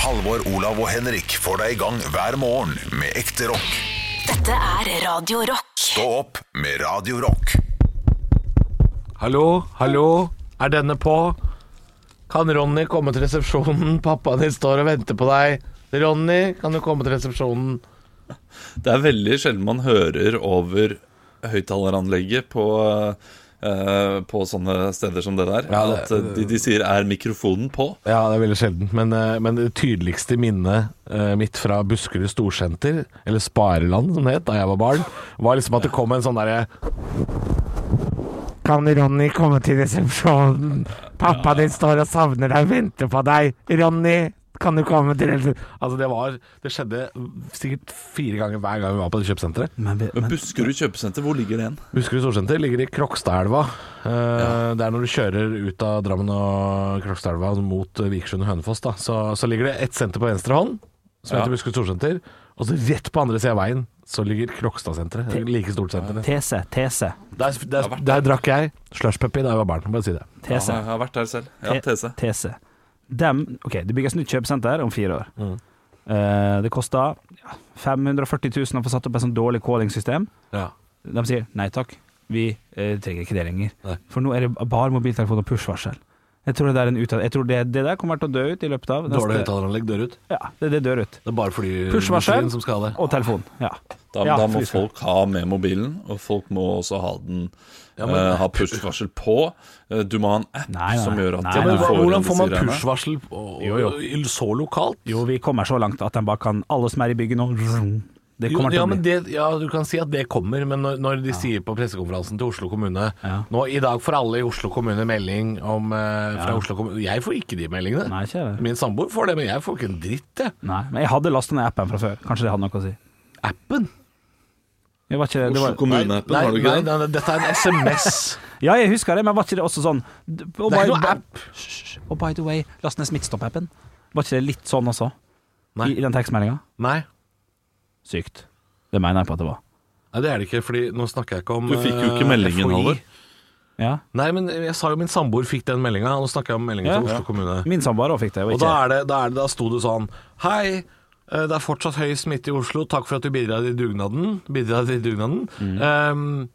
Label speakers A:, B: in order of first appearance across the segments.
A: Halvor, Olav og Henrik får deg i gang hver morgen med ekte rock.
B: Dette er Radio Rock.
A: Stå opp med Radio Rock.
C: Hallo, hallo, er denne på? Kan Ronny komme til resepsjonen? Pappaen din står og venter på deg. Ronny, kan du komme til resepsjonen?
D: Det er veldig sjelden man hører over høyttaleranlegget på, eh, på sånne steder som det der.
C: Ja, det-
D: at eh, de, de sier 'er mikrofonen på'?
C: Ja, det er veldig sjelden, men, eh, men det tydeligste minnet eh, mitt fra Buskerud Storsenter, eller Spareland som det het da jeg var barn, var liksom at det kom en sånn derre Kan Ronny komme til resepsjonen? Pappa din står og savner deg, venter på deg. Ronny, kan du komme til resepsjonen? Altså, det var Det skjedde sikkert fire ganger hver gang vi var på det kjøpesenteret.
D: Men Buskerud kjøpesenter, hvor ligger den?
C: Buskerud Storsenter ligger i Krokstadelva. Eh, Det er når du kjører ut av Drammen og Krokstadelva mot eh, Vikersund og Hønefoss, da. Så, så ligger det ett senter på venstre hånd, som
D: Ja.
C: heter Buskerud Storsenter. Og så rett på andre sida av veien så ligger Krokstadsenteret. Det er Like stort senter.
E: Tese, tese,
C: Der, der, der drakk jeg slushpuppy da jeg var barn, bare si det.
D: Ja,
E: tese.
D: jeg har vært der selv. Ja,
E: Te-
D: Tese.
E: tese. Dem, ok, det bygges nytt kjøpesenter om fire år.
C: Mm.
E: Eh, det koster ja, 540 000 å få satt opp et sånt dårlig callingsystem.
C: Ja.
E: De sier nei takk, vi eh, trenger ikke det lenger.
C: Nei.
E: For nå er det bare mobiltelefon og push-varsel. Jeg tror, det, der er en utad- jeg tror det, det der kommer til å dø ut i løpet av
C: Dårlig høyttaleranlegg dør ut.
E: Ja, det, det dør ut.
C: Det er bare flyindustrien
E: Push-varsel
C: som skal ha det.
E: og telefon. Ja.
D: Da,
E: Ja,
D: da må
E: fy søren.
D: folk ha med mobilen, og folk må også ha den eh, ha push-varsel på. Eh, du må ha en app
E: Nei, nei,
D: som gjør at
E: nei,
D: du
E: nei, nei.
D: får inn
C: Hvordan får man
D: disse greiene.
C: push-varsel på-
E: Jo, jo.
C: i- så lokalt?
E: Jo, vi kommer så langt at de bare kan Alle som er i bygget nå Det
C: Jo,
E: kommer til
C: ja,
E: å bli
C: men det, ja, du kan si at det kommer, men når, når de sier på pressekonferansen til Oslo kommune
E: Ja.
C: Nå i dag får alle i Oslo kommune melding om eh, fra Oslo kommune Jeg får ikke de meldingene.
E: Nei, ikke jeg.
C: Min samboer får det, men jeg får ikke en dritt, jeg.
E: Nei, men jeg hadde lasta ned appen fra før. Kanskje det hadde noe å si.
C: Appen?
E: Jeg var ikke, det
D: Oslo
E: var,
D: kommune-appen,
C: Nei,
D: har du
C: nei,
D: ikke
C: nei,
D: det?
C: nei, dette er en SMS.
E: ja, jeg husker det, men var ikke det også sånn Det
C: Det er ikke noe app.
E: Og by the way, last ned Smittestopp-appen. Var ikke det litt sånn også?
C: Nei.
E: I, i den tekstmeldinga?
C: Nei.
E: Sykt. Det mener jeg på at det var.
C: nei, det er det ikke, fordi nå snakker jeg ikke om
D: Du fikk jo ikke
C: eh,
D: meldingen,
C: FHI.
D: Halvor.
E: Ja.
C: Nei, men jeg sa jo min samboer fikk den meldinga. Nå snakker jeg om meldingen
E: Ja.
C: til Oslo kommune.
E: Min samboer òg fikk det. Og
C: Og
E: ikke.
C: da, er det, da, er det, da sto det sånn Hei, eh, det er fortsatt høy smitte i Oslo. Takk for at du bidrar i dugnaden. Bidrar i dugnaden.
E: Mm.
C: Ehm,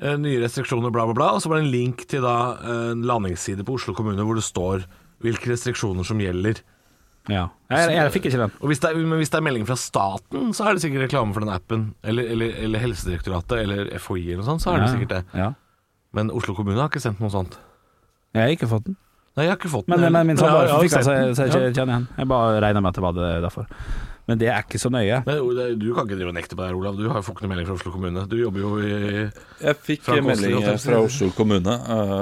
C: eh, nye restriksjoner, bla, bla, bla. Og så var det en link til da eh, en landingsside på Oslo kommune hvor det står hvilke restriksjoner som gjelder.
E: ja. jeg, jeg, jeg fikk ikke den.
C: Og hvis det er, men hvis det er melding fra staten, så er det sikkert reklame for den appen. Eller, eller, eller Helsedirektoratet eller FHI eller noe sånt, så er det sikkert det.
E: Ja.
C: Men Oslo kommune har ikke sendt noe sånt.
E: Jeg har ikke fått den.
C: Nei, jeg har ikke fått den.
E: Men, men, min
C: heller.
E: samboer
C: jeg har
E: fikk den, så
C: sett
E: jeg, så jeg
C: den.
E: ikke kjenner igjen. Jeg bare regner med at det var det derfor. Men det er ikke så nøye.
C: Men Ole, Du kan ikke drive og nekte på det her, Olav. Du har jo fått noen melding fra Oslo kommune. Du jobber jo i
D: Jeg fikk
C: Fra
D: eh,
C: Kåsli
D: melding eh,
C: Hotel.
D: fra Oslo kommune eh,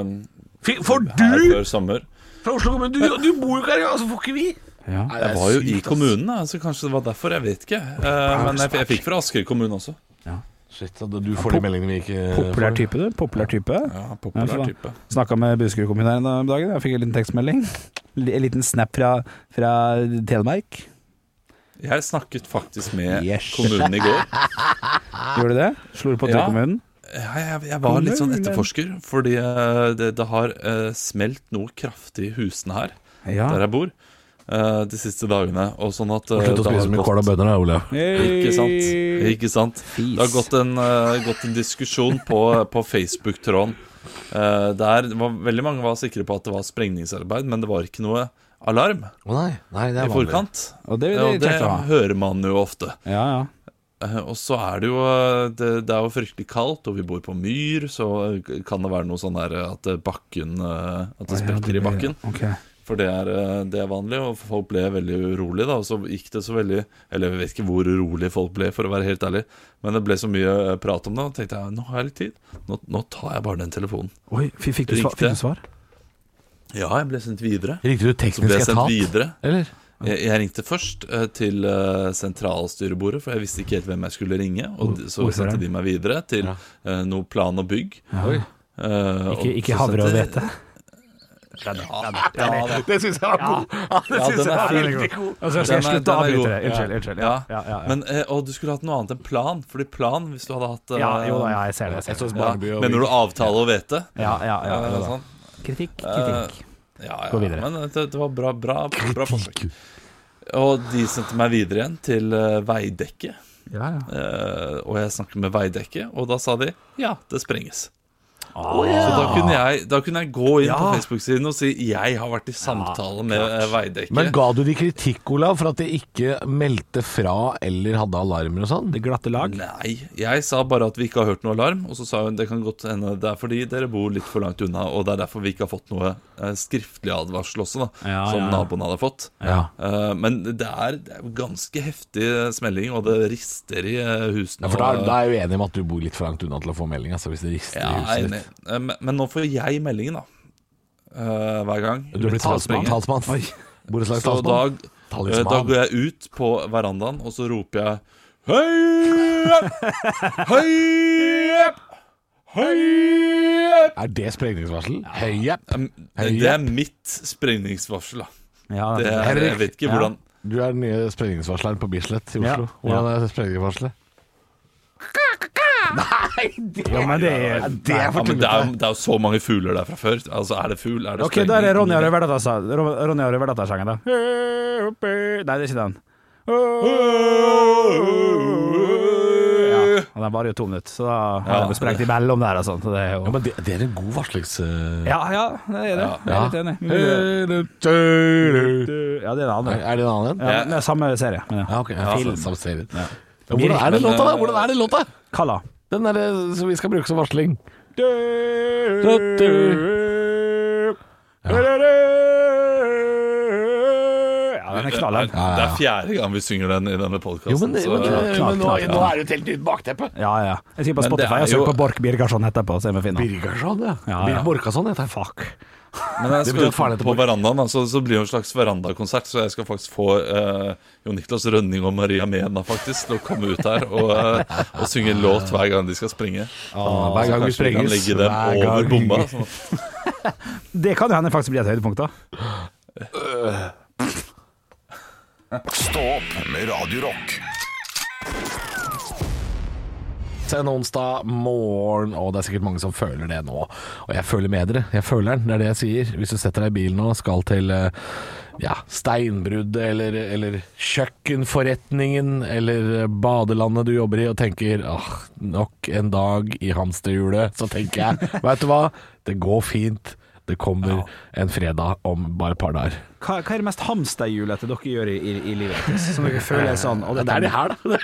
C: Fy- Får
D: her
C: du
D: før sommer.
C: fra Oslo kommune? Du, du bor jo ikke her engang, så får ikke vi!
E: Ja.
C: Nei, det er
D: Jeg var jo
C: sykt,
D: i
C: ass.
D: kommunen, da, så kanskje det var derfor. Jeg vet ikke. Eh, men jeg, jeg fikk fra Asker kommune også.
C: Shit, at du får de meldingene vi ikke
E: Populær
C: får.
E: type, du. Populær type.
D: Ja,
E: Ja, for
D: populær
E: da.
D: type.
E: Snakka med Buskerud kommune her om dagen. Jeg fikk en liten tekstmelding. En liten snap fra, fra Telemark.
D: Jeg snakket faktisk med
E: Yes.
D: kommunen i går.
E: Gjorde du det? Slo du på
D: Ja.
E: telekommunen?
D: Jeg, jeg, jeg var litt sånn
E: Kommunen.
D: etterforsker, fordi eh, det, det har eh, smelt noe kraftig i husene her,
E: Ja.
D: der jeg bor, eh, de siste dagene. Og sånn at eh,
C: Slutt å
D: det har
C: spise mye
D: gått-
C: kål og bønner da, Olav.
D: Ikke sant? Ikke sant? Det har gått en, eh, gått en diskusjon på, på Facebook-tråden. Eh, der var, veldig mange var sikre på at det var sprengningsarbeid, men det var ikke noe alarm
C: Å nei, nei, det
D: i
C: er vanlig.
D: forkant.
E: Og det, det,
D: Ja, og det
E: kjekt å ha.
D: hører man jo ofte.
E: Ja, ja.
D: Eh, Og så er det jo eh, det, det er jo fryktelig kaldt, og vi bor på myr, så eh, kan det være noe sånn der eh, at eh, bakken eh, At det sprekker i bakken.
E: Ok.
D: For det er, eh, det er vanlig, og folk ble veldig urolige, da. Og så gikk det så veldig Eller jeg vet ikke hvor urolige folk ble, for å være helt ærlig, men det ble så mye eh, prat om det, og tenkte jeg nå har jeg litt tid. Nå, nå tar jeg bare den telefonen.
E: Oi, f- fikk du, svar,
D: Riktig.
E: fikk du svar?
D: Ja, jeg ble sendt videre.
C: Riktig du
D: Så ble
C: teknisk
D: jeg sendt
C: etat?
D: videre.
C: Eller?
D: Jeg, jeg ringte først eh, til eh, sentralstyrebordet, for jeg visste ikke helt hvem jeg skulle ringe. Og d- så
E: Ordføreren.
D: sendte de meg videre til
C: Ja.
D: eh, noe plan og bygg.
C: Oi.
D: Eh,
E: Ikke,
D: og
E: ikke
D: så
E: havre og
D: sendte-
E: hvete?
D: Ja, ja, det-
C: Det syns jeg var god. Ja, det
D: Ja,
C: synes jeg
D: den er
C: var
D: fin.
C: veldig god.
E: Og så skal jeg
D: Den er-
E: slutte å
D: den er
E: avbryte
D: god.
E: det. Unnskyld. unnskyld ja. Ja, ja, ja.
D: Men, eh, og du skulle hatt noe annet enn plan, fordi plan, hvis du hadde hatt eh,
E: ja, jo da, ja, jeg ser det. Jeg ser det.
D: ja,
C: Barneby og
D: Mener du avtale og hvete?
E: Ja, ja, ja,
D: Eh,
E: jo da.
D: sånn.
E: Kritikk, kritikk.
D: Ja,
E: Gå
D: ja, eh,
E: videre.
D: men det, det var bra, bra, bra forsøk. Og de sendte meg videre igjen til eh, Veidekke.
E: Ja, ja.
D: Eh, og jeg snakket med Veidekke, og da sa de ja, det sprenges.
E: Ah.
D: Så da kunne, jeg, da kunne jeg gå inn
C: Ja.
D: på Facebook-siden og si jeg har vært i samtale med eh, Veidekke.
C: Men ga du de kritikk, Olav, for at de ikke meldte fra eller hadde alarmer og sånn?
E: Det glatte lag.
D: Nei, jeg sa bare at vi ikke har hørt noe alarm. Og så sa hun det kan godt hende det er fordi dere bor litt for langt unna, og det er derfor vi ikke har fått noe eh, skriftlig advarsel også, da,
E: Ja,
D: som
E: ja.
D: naboen hadde fått.
C: Ja.
D: Eh, men det er, det er jo ganske heftig smelling, og det rister i eh, husene.
C: Ja, for da,
D: og-
C: da er jeg jo enig om at du bor litt for langt unna til å få melding, altså, hvis det rister i
D: Ja, jeg er
C: huset
D: enig.
C: ditt.
D: Eh, Men, men nå får jeg meldingen, da. Eh, hver gang.
C: Du blir talsmann.
D: Talsmann.
C: talsmann. Borettslags
D: Så da,
C: talsmann.
D: eh, da
C: Talisman.
D: går jeg ut på verandaen, og så roper jeg Høyep! Høyep! Høyep!
C: Er det sprengningsvarsel? Høyepp.
D: Em, Det det er mitt sprengningsvarsel, da.
E: Ja,
D: Det er, jeg vet ikke
E: Ja.
D: hvordan
C: Du er den nye sprengningsvarsleren på Bislett i Oslo.
E: Ja.
C: Hvordan er sprengningsvarselet? Nei, det
E: Ja, men det er
C: Det er
D: ja,
C: for
D: men det, er,
C: tullete.
D: det er jo så mange fugler der fra før. Altså, er det fugl? Er det
E: Ok, da er det Ronja Røverdatter-sangen, da. Nei, det er ikke den. Ja, og den varer jo to minutter, så da har jeg vel sprengt imellom der og sånt. så Det er
C: Ja,
E: jo
C: men det, det er en god varslings... eh,
E: Ja, ja, det er det. Jeg er litt enig.
C: Ja. Er
E: Ja, det er en annen.
C: det en annen en?
E: Ja, men det er samme serie. Men
C: Ja,
E: ja.
C: altså, ok. Ja,
E: Film.
C: samme serie. Ja, Hvordan er den låta, da? Hvordan er den låta?
E: Kalla.
C: Den der eh, som vi skal bruke som varsling.
E: Ja, den er knallhard.
D: Det er fjerde gang vi synger den i denne
C: Jo, men,
D: podkasten.
C: det- men, det-
E: klart,
C: men nå,
E: klart,
C: nå
E: ja.
C: er det jo et helt nytt bakteppe.
E: Ja, ja. Jeg skal på
D: Men det
E: Spotify
D: er
E: og søke
D: jo-
E: på Borch Birgersson etterpå, så er vi finne han.
C: Birgersson, ja.
E: Ja, ja.
C: Birk Borkason heter han. Fuck.
D: Men jeg
C: betyr at
D: skal
C: faren heter
D: på
C: Bård.
D: verandaen, da, så, så blir det en slags verandakonsert. Så jeg skal faktisk få eh, Jon Niklas Rønning og Maria Mena faktisk til å komme ut her og, eh, og synge en låt hver gang de skal springe.
C: hver gang vi
D: Kanskje vi kan
C: sprenges.
D: legge dem
C: hver
D: over
C: gang.
D: bomba. Sånn.
E: Det kan jo hende faktisk blir et høydepunkt, da.
A: Stå opp med Radio Rock.
C: Så en onsdag morgen, og det er sikkert mange som føler det nå. Og jeg føler med dere. Jeg føler den, det er det jeg sier. Hvis du setter deg i bilen og skal til eh, ja, steinbruddet eller, eller kjøkkenforretningen eller eh, badelandet du jobber i og tenker åh, nok en dag i hamsterhjulet, så tenker jeg veit du hva, det går fint. Det kommer en fredag om bare et par dager.
E: Hva, hva er det mest hamsterhjulete dere gjør i, i, i livet? deres, Som dere føler er sånn og
C: Det er de her, da.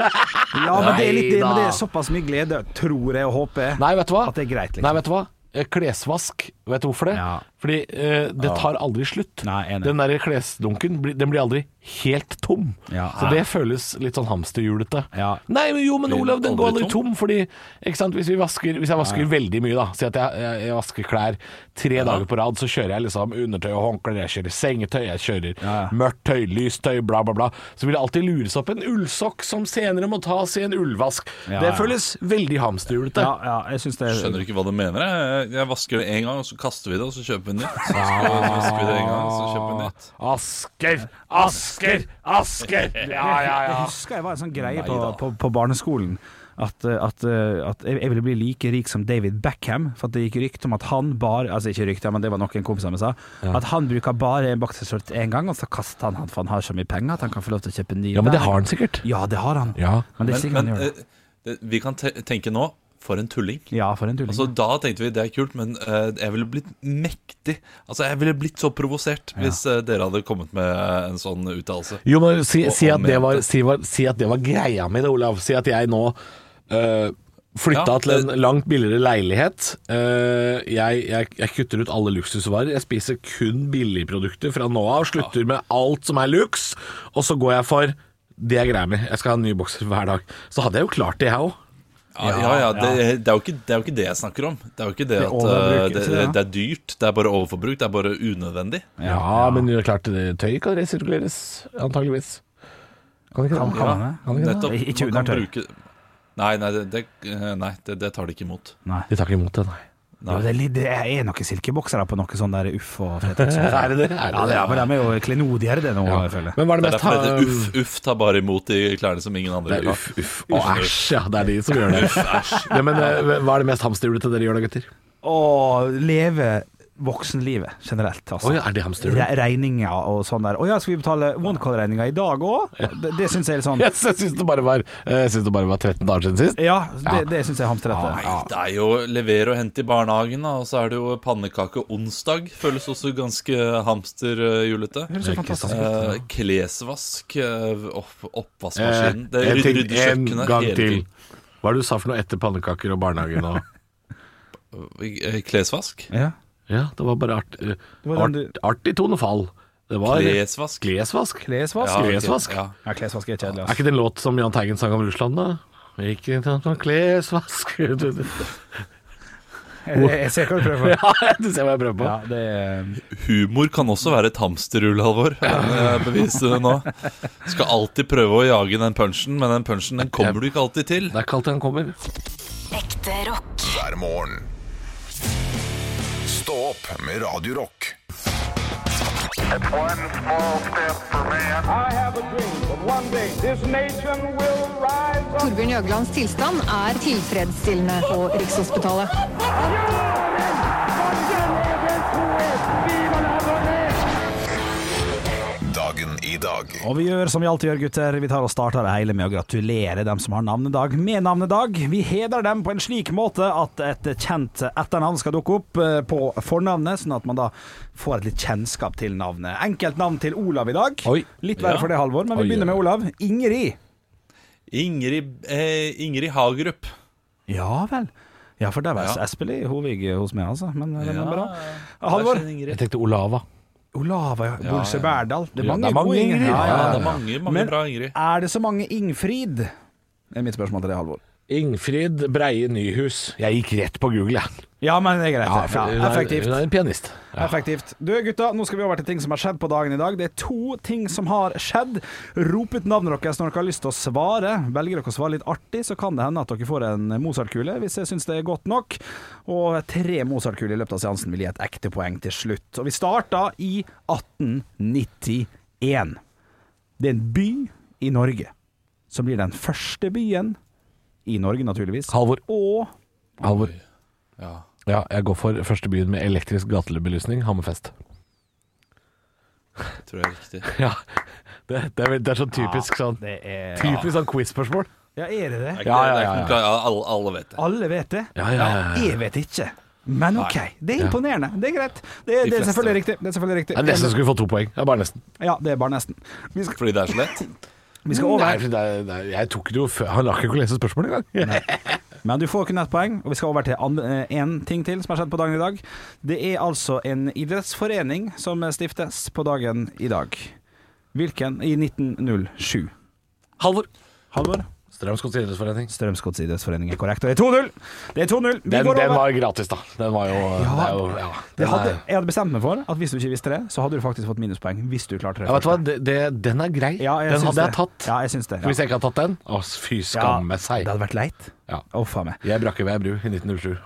E: Ja, men det er, litt, det,
C: Neida.
E: men det er såpass mye glede, tror jeg og håper jeg.
C: Nei, vet du hva?
E: At det er greit, liksom.
C: Nei, vet du hva? Eh, Klesvask, vet du hvorfor det?
E: Ja.
C: Fordi eh, det tar aldri slutt.
E: Nei, enig.
C: den der klesdunken blir- den blir aldri helt tom.
E: Ja.
C: Så det føles litt sått hamsterhjulete.
E: Ja.
C: Nei, men jo, men
D: Blir den
C: Olav, den går
D: aldri
C: aldri tom, fordi ikke sant? Hvis, vi vasker, hvis jeg vasker veldig mye, da Si at jeg, jeg, jeg vasker klær tre dager på rad, så kjører jeg liksom undertøy og håndklær, jeg kjører sengetøy, jeg kjører
E: Ja.
C: mørkt tøy, lyst tøy, bla, bla, bla. Så vil det alltid lures opp en ullsokk som senere må tas i en ullvask.
E: Ja,
C: det
E: ja.
C: føles veldig hamsterhjulete.
E: Ja, ja, jeg syns det er
D: Skjønner ikke hva du mener. Jeg, jeg vasker det én gang, og så kaster vi det, og så kjøper vi nytt. Så vasker vi det en gang, og så kjøper vi nytt.
C: Asker, Asker, Asker! Ja, ja,
E: Jeg
C: ja.
E: husker jeg var en sånn greie
D: Nei
E: på,
D: da.
E: på, på barneskolen. At, eh, at, eh, at jeg jeg ville bli like rik som David Beckham, for at det gikk rykte om at han bar Altså ikke rykte, men det var noen kompiser som sa. At han bruker bare en bokseskjørt én gang, og så kaster han han, for han har så mye penger at han kan få lov til å kjøpe en ny.
C: Ja, men det
E: hver.
C: har han sikkert.
E: Ja, det har han.
C: Ja.
E: Men det er
D: Men,
E: sikkert
D: men
E: han gjør det.
D: eh, det- vi kan te tenke nå for en tulling.
E: Ja, for en tulling.
D: Altså, da tenkte vi det er kult, men eh, jeg ville blitt mektig. Altså, Jeg ville blitt så provosert hvis eh, dere hadde kommet med eh, en sånn uttalelse.
C: Jo, men si, si, at
D: Og- og
C: det var,
D: mente.
C: si, var, si at det var greia mi, da, Olav. Si at jeg nå øh, flytta
D: Ja,
C: til en
D: det-
C: langt billigere leilighet. Øh, jeg, jeg, jeg kutter ut alle luksusvarer. Jeg spiser kun billigprodukter fra nå av. Slutter med alt som er luks. Og så går jeg for det er greia mi. Jeg skal ha en ny bokser hver dag. Så hadde jeg jo klart det, jeg òg.
D: Ja, ja, ja, det, det, er jo ikke, det er jo ikke det jeg snakker om. Det er jo ikke det
E: er
D: at eh,
E: overbruk,
D: det,
E: ikke det?
D: det er dyrt, det er bare overforbruk, det er bare unødvendig.
C: Ja, men det er klart det- tøy kan resirkuleres, antageligvis. Kan det ikke det?
E: Kan man det?
C: Kan det ikke det?
D: Nettopp.
E: Ikke
D: man kan
E: undertøy.
D: bruke- Nei, nei, det, det, eh, nei det, det tar de ikke imot.
E: Nei.
C: De tar ikke imot det, nei.
E: Jo, det, er litt- det er noen silkeboksere på noe sånn der uff og Fretex. ja,
C: Er det det? Er det
E: det er, men de er jo klenodiere, det nå,
C: Ja.
E: jeg føler jeg.
C: Men hva er
D: Det
C: det
D: er
C: mest
D: derfor det heter
C: uff?
D: uff, uff tar bare imot de klærne som ingen andre
C: Det er
D: vil ha.
C: uff, uff og æsj, ja. Det er de som gjør det.
D: Uff, æsj.
C: Ja, men eh, hva er det mest hamsterhjulete dere gjør da, gutter?
E: Å leve voksenlivet generelt. Altså.
C: Oi, er det hamster?
E: Re regninger og sånn der. Å ja, skal vi betale OneCall-regninga i dag òg? Det, det syns jeg er litt sånn
C: Jeg syns det, bare var- eh, jeg synes det bare var 13 dager siden sist.
E: Ja, det, det syns jeg er hamsterrette.
D: Nei, det er jo levere og hente i barnehagen, da, og så er det jo pannekake onsdag. Føles også ganske hamsterjulete.
E: Det høres så fantastisk ut.
D: Eh, klesvask, eh, opp, oppvaskmaskinen Det
C: Eh, En ting-
D: rydder rydder
C: en
D: kjøkkenet
C: gang
D: hele
C: til.
D: tiden.
C: Hva er det du sa for noe etter pannekaker og barnehagen og
D: Eh, Klesvask?
E: Ja.
C: Ja, det var bare art, eh,
E: var den
C: art,
E: du-
C: artig tonefall. Det var
D: Klesvask?
C: Klesvask.
E: Klesvask?
D: Ja, ok,
C: klesvask.
D: ja.
E: Ja, klesvask er kjedelig,
C: Er
E: altså.
C: ikke det en låt som Jahn Teigen sang om Russland, da? Ikke sant, sånn klesvask Du- du-
E: Jeg, jeg ser hva du prøver på.
C: Ja, du ser hva jeg prøver på.
E: Ja, det er
D: Humor kan også være et hamsterhull, Halvor. Eh, Beviste det nå. Skal alltid prøve å jage den punchen, men den punchen den kommer du ikke alltid til.
C: Det er ikke alltid han kommer.
B: Ekte rock.
A: hver morgen. Stå opp med Radio Rock.
F: One small step for man.
G: I have a dream that one day this nation will rise up.
H: Torbjørn Jøglands tilstand er tilfredsstillende på Rikshospitalet.
A: Dagen i dag.
E: Og vi gjør som vi alltid gjør, gutter. Vi tar og starter det hele med å gratulere dem som har navnedag med navnedag. Vi hedrer dem på en slik måte at et kjent etternavn skal dukke opp eh, på fornavnet, sånn at man da får et litt kjennskap til navnet. Enkelt navn til Olav i dag.
C: Oi.
E: Litt verre
D: Ja.
E: for det, Halvor, men
C: Oi,
E: vi begynner
C: oi,
E: med Olav. Ingrid.
D: Ingrid, eh, Ingrid Hagerup.
E: Ja vel. Ja, for der var
D: Ja.
E: Espelid Hovig hos meg, altså. Men den
D: Ja,
E: er bra.
D: der
E: Halvor.
D: skjer Ingrid.
C: Jeg tenkte Olava.
E: Olava, ja. Bolse Berdal. Det er
C: Ja,
E: mange,
C: det er mange
E: gode Ingrid.
C: Ingrid.
E: Ja, ja,
D: Ja,
E: ja.
D: det er mange, mange
E: Men-
D: bra Ingrid.
E: Er det så mange Ingfrid? Det er mitt spørsmål til deg, Halvor.
C: Ingfrid Breie Nyhus. Jeg gikk rett på Google, jeg.
E: Ja, men det er greit.
C: Ja,
E: det.
C: for
E: Ja,
C: hun er-
E: effektivt.
C: Hun er en pianist. Ja.
E: Effektivt. Du gutta, nå skal vi over til ting som har skjedd på dagen i dag. Det er to ting som har skjedd. Rop ut navnet deres når dere har lyst til å svare. Velger dere å svare litt artig, så kan det hende at dere får en Mozart-kule, hvis jeg syns det er godt nok. Og tre Mozart-kuler i løpet av seansen vil gi et ekte poeng til slutt. Og vi starter i 1891. Det er en by i Norge som blir den første byen i Norge, naturligvis.
C: Halvor.
E: Og
C: Halvor.
D: Ja.
C: Ja, jeg går for første byen med elektrisk gatelebelysning, Hammerfest.
D: Tror jeg er riktig.
C: Ja, det, det, er, det er sånn typisk sånn
E: det er
C: Typisk sånn quiz-spørsmål.
E: Ja, er det det?
D: Er ikke
C: Ja, ja,
D: det- det er
C: ja,
D: ikke noe- ja, alle, alle vet det.
E: Alle vet det.
C: Ja, ja, ja, ja.
E: Jeg vet ikke. Men OK, det er imponerende. Det er greit. Det er,
D: De
E: det er
D: fleste
E: selvfølgelig riktig. Det er selvfølgelig riktig.
C: Jeg er nesten skulle få to poeng. Det er bare nesten.
E: Ja, det er bare nesten. Vi skal,
D: Fordi det er så lett.
E: vi skal
C: Nei,
E: over.
C: for det er- det er- jeg tok det jo før Han rakk jo ikke å lese spørsmålet engang.
E: Men du får kun ett poeng, og vi skal over til én ting til som har skjedd på dagen i dag. Det er altså en idrettsforening som stiftes på dagen i dag. Hvilken? I 1907.
C: Halvor.
E: Halvor?
C: Strømsgods idrettsforening.
E: Strømsgodts idrettsforening er korrekt, og det er 2-0! Det er 2-0. Vi
C: Den,
E: går
C: den
E: over.
C: var gratis, da. Den var jo
E: Ja.
C: det er jo, ja.
E: Det
C: Den
E: hadde,
C: er,
E: jeg hadde bestemt meg for at hvis du ikke visste det, så hadde du faktisk fått minuspoeng. Hvis du klarte det.
C: ja, vet du hva,
E: første.
C: det, det, den er grei.
E: Ja, jeg
C: den
E: syns
C: hadde jeg
E: det.
C: tatt.
E: Ja, jeg syns det.
C: For Hvis jeg ikke hadde tatt den Å, fy skamme seg.
E: Det hadde vært leit.
C: Ja.
E: Å, faen meg.
C: Jeg brakk ved ei bru i 1907.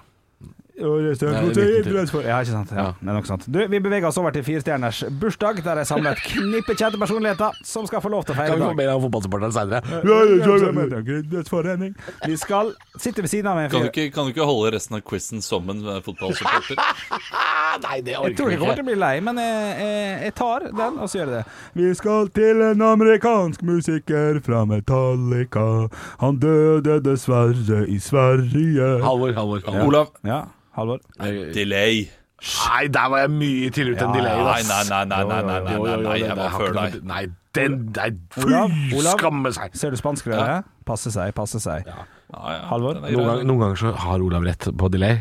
C: Nei, det er
E: Ja,
C: viktig.
E: ikke sant. Ja,
C: Ja.
E: Det er nok sant. Du, vi beveger oss over til firestjerners bursdag, der jeg samler et knippe kjente personligheter som skal få lov til å
C: Kan
E: feire
C: vi få
E: dag.
C: mer av fotballsupporteren seinere?
E: Vi skal sitte ved siden av en
D: Kan du
E: fyr
D: ikke, kan du ikke holde resten av quizen som en eh, fotballsupporter?
C: Ah, Nei, det
E: Jeg tror
C: orker
E: ikke jeg
C: vi
E: kommer til
C: ikke.
E: å bli lei, men jeg, jeg, jeg tar den, og så gjør jeg det. Vi skal til en amerikansk musiker fra Metallica. Han døde dessverre i Sverige.
C: Halvor, Halvor. Halvor.
D: Olav.
E: Ja, Halvor.
D: Delay.
C: Nei, der var jeg mye tidligere ute enn delay.
D: Nei,
C: ass.
D: nei, nei, nei, nei, nei, nei,
C: Jo, jo,
D: nei,
C: jo,
D: nei,
C: det-
D: jeg
C: det
D: var
C: har
D: før
C: ikke
D: deg.
C: noe- Nei, den Nei,
E: Olav,
C: fy
E: Olav.
C: skamme seg.
E: Ser du spanskrøret? Passe seg, passe seg.
D: Ja, ja.
E: Halvor?
D: Den er grei.
C: Noen, gang, noen ganger så har Olav rett på delay.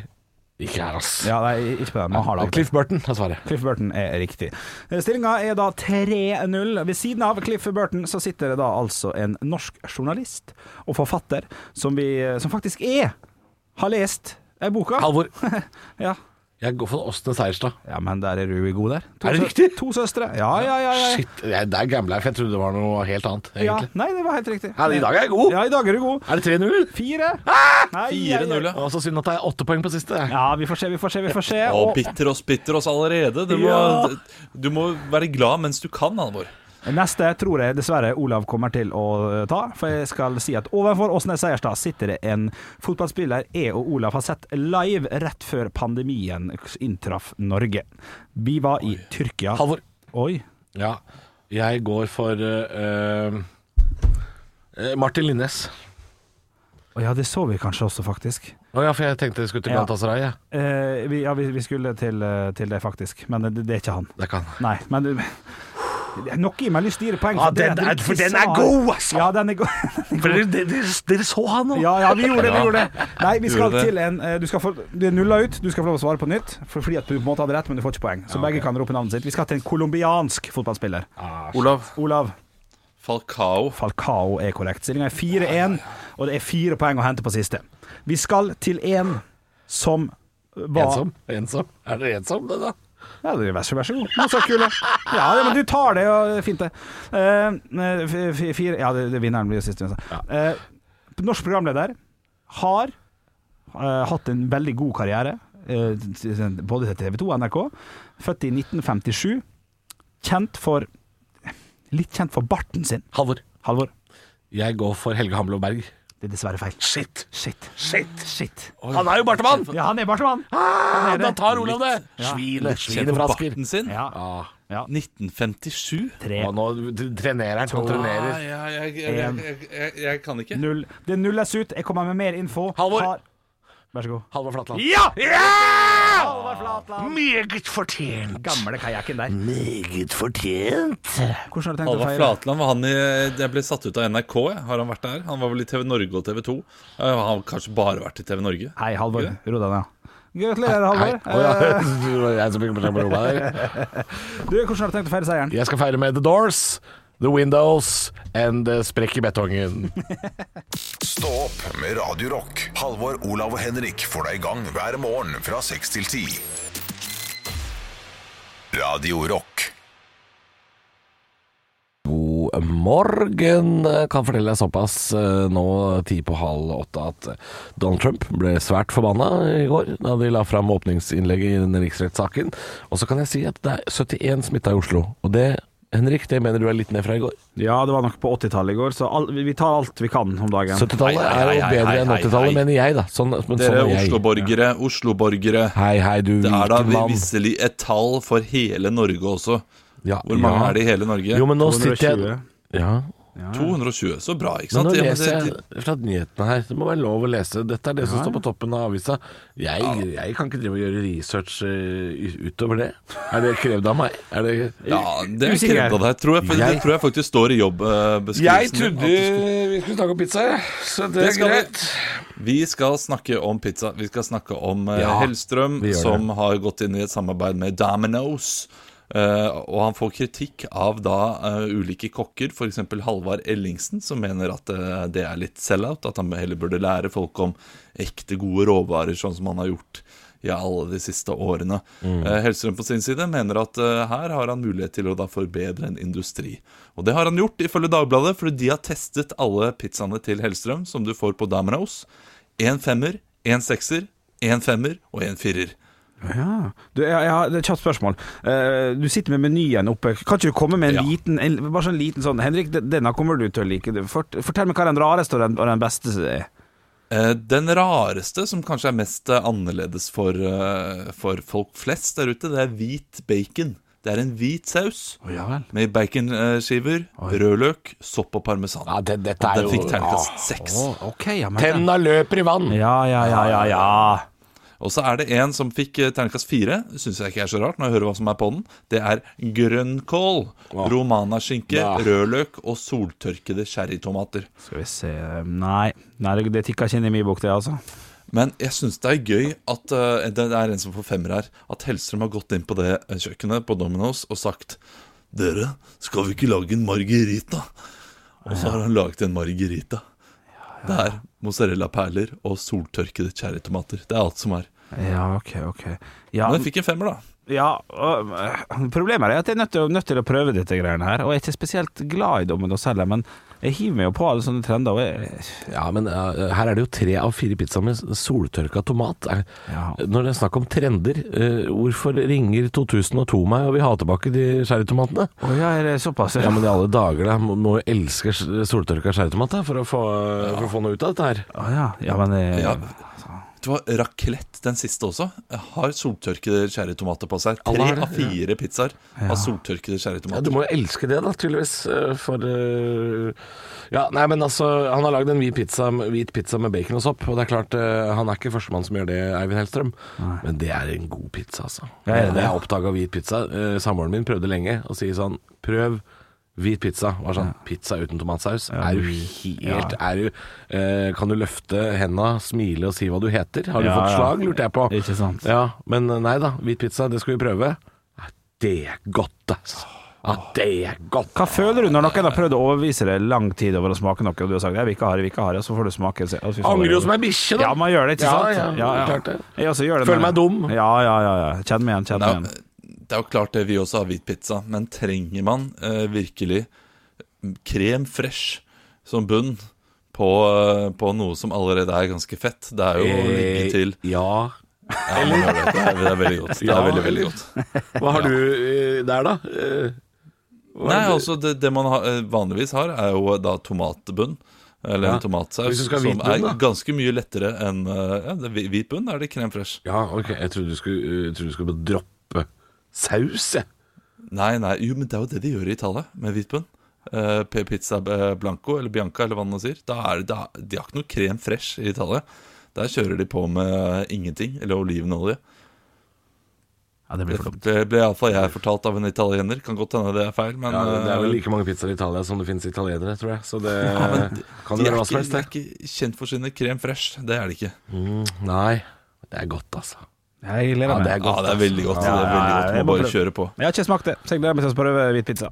C: Ikke her, ass.
E: Ja, nei, ikke på den. Man har det aldri.
C: Cliff Burton er svaret.
E: Cliff Burton er riktig. Stillinga er da 3-0. Ved siden av Cliff Burton så sitter det da altså en norsk journalist og forfatter som, vi, som faktisk er har lest eh, boka.
C: Halvor.
E: Ja.
C: Jeg går for Åsne Seierstad.
E: ja, men der er du god der. To
C: Er det
E: sø-
C: riktig?
E: To søstre. Ja, ja, ja. ja.
C: Shit, jeg, der gambla jeg, for jeg trodde det var noe helt annet,
E: ja.
C: egentlig.
E: Nei, det var helt riktig.
C: Ja, I dag er jeg god! Ah!
E: Ja, i dag er du god.
C: Er det 3-0?
E: Fire. Nei, ja, ja.
D: 4-0, ja.
C: Og så synd at det er åtte poeng på siste.
E: Ja, vi får se, vi får se, vi får se.
D: Å, bitter oss, bitter oss allerede. Du må,
E: Ja.
D: du må være glad mens du kan, Halvor.
E: Neste tror jeg dessverre Olav kommer til å eh, ta, for jeg skal si at overfor Åsnes Seierstad sitter det en fotballspiller jeg og Olav har sett live rett før pandemien inntraff Norge. Vi var i Tyrkia.
C: Halvor.
E: Oi.
C: Ja. Jeg går for eh, eh, Martin Linnes.
E: Å ja, det så vi kanskje også, faktisk.
C: Å ja, for jeg tenkte jeg skulle til
E: Ja.
C: Galatasaray. Ja.
E: Eh, vi, ja, vi, vi skulle til, eh, til det, faktisk, men det, det er ikke han.
C: Det kan han.
E: Nei, men det- det er Noe i meg har lyst til å gi det poeng.
C: Ja,
E: det
C: den
E: at du
C: er-
E: ikke
C: for den er
E: sa-
C: god, altså!
E: Ja, den er god.
C: For dere, dere, dere så han nå!
E: Ja, ja, vi gjorde det, vi gjorde det. Nei, vi skal
D: Gjorde det.
E: til en eh, Du skal få Du er nulla ut. Du skal få lov å svare på nytt, for, fordi at du på en måte hadde rett, men du får ikke poeng. Så begge kan rope navnet sitt. Vi skal til en colombiansk fotballspiller.
D: Olav
E: Olav
D: Falcao.
E: Falcao er korrekt. Stillinga er 4-1, og det er fire poeng å hente på siste. Vi skal til en som var
C: Ensom? ensom. Er dere ensom, det da?
E: Ja, det er vær så, vær så god. Men så kul, ja. ja, ja, men du tar det, og det er fint det. Eh, f- f- fire Ja, det, det vinneren blir sist. altså. Eh, norsk programleder har eh, hatt en veldig god karriere, eh, t- t- både til TV 2 og NRK. Født i 1957. Kjent for Litt kjent for barten sin.
C: Halvor.
E: Halvor,
C: Jeg går for Helge Hamlo Berg.
E: det er dessverre feil.
C: Shit!
E: Shit.
C: Shit!
E: Shit.
C: Han er jo bartemann!
E: Ja, han er bartemann!
C: Ah,
E: er det.
C: da tar Olav det!
E: Ja.
C: Svile,
D: Kjent på barten sin.
E: Ja.
C: Ah,
E: ja.
D: 1957.
E: Tre,
C: og nå trenerer han. Han trenerer.
D: ja, jeg, jeg, jeg, jeg, jeg, jeg kan ikke.
E: null. Det nulles ut. Jeg kommer med mer info.
C: Halvor.
E: Har- Vær så god.
C: Halvor Flatland. Ja!
E: Halvor Flatland.
C: Meget fortjent.
E: Gamle kajakken der.
C: Mm. Meget fortjent.
E: Hvordan har du tenkt å
D: Halvard
E: feire?
D: Flatland var han i Jeg ble satt ut av NRK, jeg. Har han vært der? Han var vel i TV Norge og TV 2. Han har kanskje bare vært i TV Norge.
E: Hei, Halvor. Ro deg ned. Gratulerer,
C: Hei.
E: Halvor.
C: Å, ja. Det var jeg som fikk beskjed på rommet der.
E: Eh, Du, hvordan har du tenkt å feire seieren?
C: Jeg skal feire med The Doors, The Windows and eh, Sprekk i betongen.
A: Stå opp med Radio Rock. Halvor, Olav og Henrik får deg i gang hver morgen fra 6 til 10. Radio Rock.
I: God morgen. Kan fortelle deg såpass eh, nå ti på halv åtte at eh, Donald Trump ble svært forbanna i går da de la fram åpningsinnlegget i denne riksrettssaken. Og så kan jeg si at det er 71 smitta i Oslo. Og det, Henrik, det mener du er litt ned fra i går?
E: Ja, det var nok på 80-tallet i går, så all, vi tar alt vi kan om dagen.
I: 70-tallet
D: Hei,
I: er
D: hei,
I: jo
D: hei, hei,
I: bedre enn
D: hei,
I: 80-tallet,
D: hei.
I: mener jeg, da. Sånn, men
D: Dere
I: sånn er jeg.
D: Oslo-borgere, Oslo-borgere.
I: Hei, hei, du
D: Det er da
I: Viken-mann.
D: visselig et tall for hele Norge også.
I: Ja,
D: Hvor mange
I: ja.
D: er det i hele Norge?
I: Jo, men nå sitter jeg
E: 220.
I: Ja. Sånn,
D: 220. Så bra, ikke
I: Men
D: sant?
I: nå
D: Ja, men
I: leser
D: det-
I: jeg fra nyhetene her. Det må være lov å lese. Dette er det som står på toppen av avisa. Jeg, jeg kan ikke drive og gjøre research eh, utover det. Er det krevd av meg? Er det
D: Ja, det er
E: Usikker.
D: krevd av deg. Tror jeg, for, det
I: Jeg-
D: tror jeg faktisk står i jobbbeskrivelsen. din, at du skulle-
I: vi skulle snakke om pizza, så
D: Det skal vi. Vi skal snakke om pizza. Vi skal snakke om eh,
I: Ja,
D: Hellstrøm,
I: vi gjør
D: som har gått inn i et samarbeid med Domino's. Eh, og han får kritikk av da eh, ulike kokker, f.eks. Halvard Ellingsen, som mener at eh, det er litt sell-out, at han heller burde lære folk om ekte gode råvarer, sånn som han har gjort i alle de siste årene.
I: Mm.
D: Eh, Hellstrøm på sin side mener at eh, her har han mulighet til å da forbedre en industri. Og det har han gjort, ifølge Dagbladet, fordi de har testet alle pizzaene til Hellstrøm, som du får på Domino's. En femmer, en sekser, en femmer og en firer.
E: Ja. Du, jeg, jeg har et kjapt spørsmål. Eh, du sitter med menyen oppe. Kan ikke du komme med en
D: Ja.
E: liten en, Bare sånn liten sånn Henrik, den- denne kommer du til å like. Du, fort- fortell meg hva den rareste og den, og den beste er.
D: Eh, Den rareste, som kanskje er mest eh, annerledes for, eh, for folk flest der ute, det er hvit bacon. Det er en hvit saus med baconskiver, rødløk, sopp og parmesan.
I: Ja, det, dette er
D: Den
I: jo ah,
D: fikk terningkast seks.
E: Ok, ja, men
I: Tenna løper i vann!
E: ja, ja, ja, ja, ja.
D: Og så er det en som fikk eh, terningkast fire. Syns jeg ikke er så rart når jeg hører hva som er på den. Det er grønnkål, romanaskinke, rødløk og soltørkede cherrytomater.
E: Skal vi se Nei, Nei det, det tikka ikke inn i min bok, det, altså.
D: Men jeg syns det er gøy at eh, det det er en som får femmer her. At Hellstrøm har gått inn på det eh, kjøkkenet på Domino's og sagt Dere, skal vi ikke lage en margarita? Og så har han laget en margarita. Det er mozzarella perler og soltørkede cherrytomater. Det er alt som er.
E: Ja, OK, OK. Ja,
D: Men jeg fikk en femmer, da.
E: Ja, og, eh, øh, problemet er at jeg er nødt til, å- nødt til å prøve dette greiene her, og jeg er ikke spesielt glad i dommen å selge, men Jeg hiver meg jo på alle sånne trender. Og jeg,
C: Ja, men eh, her er det jo tre av fire pizzaer med soltørka tomat. Er-
E: Ja.
C: Når det er snakk om trender, eh, hvorfor ringer 2002 meg og vil ha tilbake de sherrytomatene?
E: å ja, er det såpass?
C: Ja, men i alle dager, da. Må- Må jo elske s- soltørka sherrytomat da, for, å få, for å få noe ut av dette her.
E: Å ja. ja, men eh,
D: Ja. Det var raclette, den siste også. Har soltørkede skjæretomater på seg.
C: Alle
D: Tre
C: har det,
D: av fire pizzaer har soltørkede
C: Ja, du
D: skjæretomater.
C: må jo elske det, da, tydeligvis. eh, For eh, Ja, nei, men altså Han har lagd en hvit pizza, hvit pizza med bacon og sopp. Og det er klart, eh, han er ikke førstemann som gjør det, Eivind Hellstrøm. Men det er en god pizza, altså.
E: Ja, er det
C: Når
E: det?
C: jeg oppdaga hvit pizza, eh, samboeren min prøvde lenge å si sånn Prøv hvit pizza. Var sånn, Pizza uten tomatsaus? Er du helt er du, eh, Kan du løfte henda, smile og si hva du heter? Har du
E: Ja,
C: fått
E: ja.
C: slag, lurte jeg på.
E: Ikke sant.
C: Ja, men eh, nei da, hvit pizza, det skal vi prøve. Ja, Det er godt, altså. Ja, det er godt.
E: Hva føler du når noen har prøvd å overbevise deg lang tid over å smake noe, og du har sagt 'jeg vil ikke ha det, jeg vil ikke ha det', og så får du smake og se- og fy faen,
C: Angrer
E: det
C: jo
E: er
C: som ei bikkje, da.
E: Ja, man gjør det, ikke
C: Ja,
E: sant?
C: ja, klart det.
E: Jeg også gjør det
C: Føler
E: når-
C: meg dum.
E: Ja, ja, ja. ja. Kjenn meg igjen,
D: Det
E: kjenn meg
D: er,
E: igjen.
D: det er jo klart det vi også har hvit pizza, men trenger man eh, virkelig krem fresh som bunn på, eh, på noe som allerede er ganske fett? Det er jo å ligge til
C: Eh, Ja.
D: ja, man gjør det. Det er, det er veldig godt. Det
C: Ja,
D: er veldig,
C: eller-
D: veldig godt.
C: Hva har du eh, der, da? Eh, hva
D: Nei,
C: er det-
D: altså det, det man har, eh, vanligvis har er jo da tomatbunn Eller
C: Ja.
D: en tomatsaus
C: Hvis du skal ha hvit
D: Som er
C: bunn, da?
D: ganske mye lettere enn eh, ja, det, hvi- Hvit bunn er det krem fresh
C: Ja, ok, jeg trodde du skulle, eh, jeg trodde du skulle bare droppe saus, jeg.
D: Nei, nei, jo, men det er jo det de gjør i Italia Med hvit bunn Eh, P- Pizza eh, blanco, eller bianca, eller hva man sier da er, det- da, De har ikke noe krem fresh i Italia Der kjører de på med ingenting Eller olivenolje
E: Ja, det blir
D: Det
E: flott.
D: ble, ble i alle fall jeg fortalt av en italiener Kan godt hende det er feil men,
C: Ja, det er vel
D: eh,
C: like mange pizzaer i Italia som det finnes italienere, tror jeg. Så det kan
D: de
C: jo være
D: er,
C: hva som
D: ikke,
C: helst,
D: de er
C: det.
D: ikke kjent for sine krem fresh Det er de ikke
C: Mm, Nei, det er godt, altså.
E: Jeg gleder
C: Ja,
E: meg.
C: det er godt. altså.
D: Ja, det er veldig godt. det er veldig
E: ja,
D: godt.
E: jeg
D: Må
E: må
D: bare
E: prøve.
D: kjøre på.
E: Jeg har ikke smakt det, så jeg gleder meg til å prøve hvit pizza.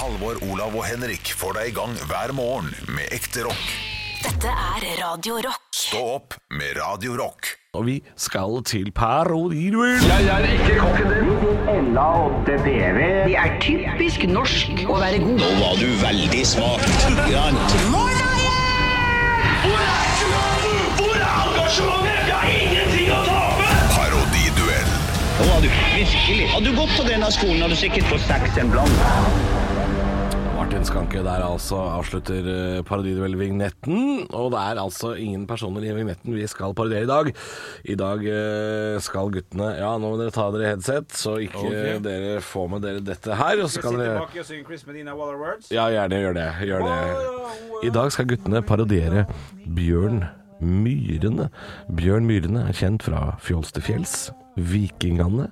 A: Halvor, Olav og Henrik får deg i gang hver morgen med ekte rock.
B: Dette er Radio Rock.
A: Stå opp med Radio Rock.
C: Og vi skal til parodiduell.
J: Det er typisk norsk å være god. Nå var du veldig smak.
K: Hvor er engasjementet? Jeg har ingenting å tape!
A: Parodiduell.
J: Nå var du virkelig. Hadde du gått på denne skolen, hadde du sikkert fått seks en blant.
C: Martin Skanke der altså avslutter eh, parodiduell-vignetten. Og det er altså ingen personer i vignetten vi skal parodiere i dag. I dag eh, skal guttene Ja, nå må dere ta dere headset, så ikke eh, dere får med dere dette her. Og så kan dere
E: og synge Chris Medina Waller Words.
C: Ja, gjerne gjør det. Gjør det. I dag skal guttene parodiere Bjørn Myrene. Bjørn Myrene er kjent fra Fjols til fjells, Vikingane.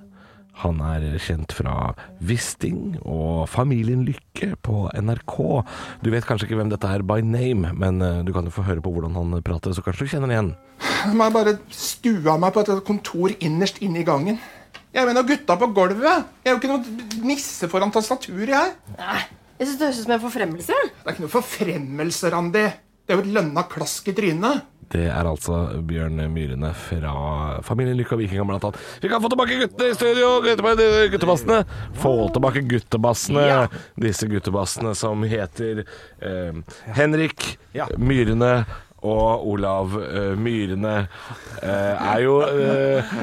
C: Han er kjent fra Wisting og Familien Lykke på NRK. Du vet kanskje ikke hvem dette er by name, men eh, du kan jo få høre på hvordan han prater, så kanskje du kjenner den igjen.
L: må jeg bare stua meg på et kontor innerst inne i gangen. Jeg mener gutta på gulvet. Jeg er jo ikke noe nisse foran tastaturet, jeg.
J: Jeg synes det høres ut som en forfremmelse.
L: Det er ikke noe forfremmelse, Randi. Det er jo et lønna klask i trynet.
C: Det er altså Bjørn Myrene fra Familien Lykke og Vikingene blant annet. Vi kan få tilbake guttene i studio! gutteba- Guttebassene! Få tilbake guttebassene! Disse guttebassene som heter eh, Henrik
E: Ja.
C: Myrene og Olav eh, Myrene eh, er jo eh,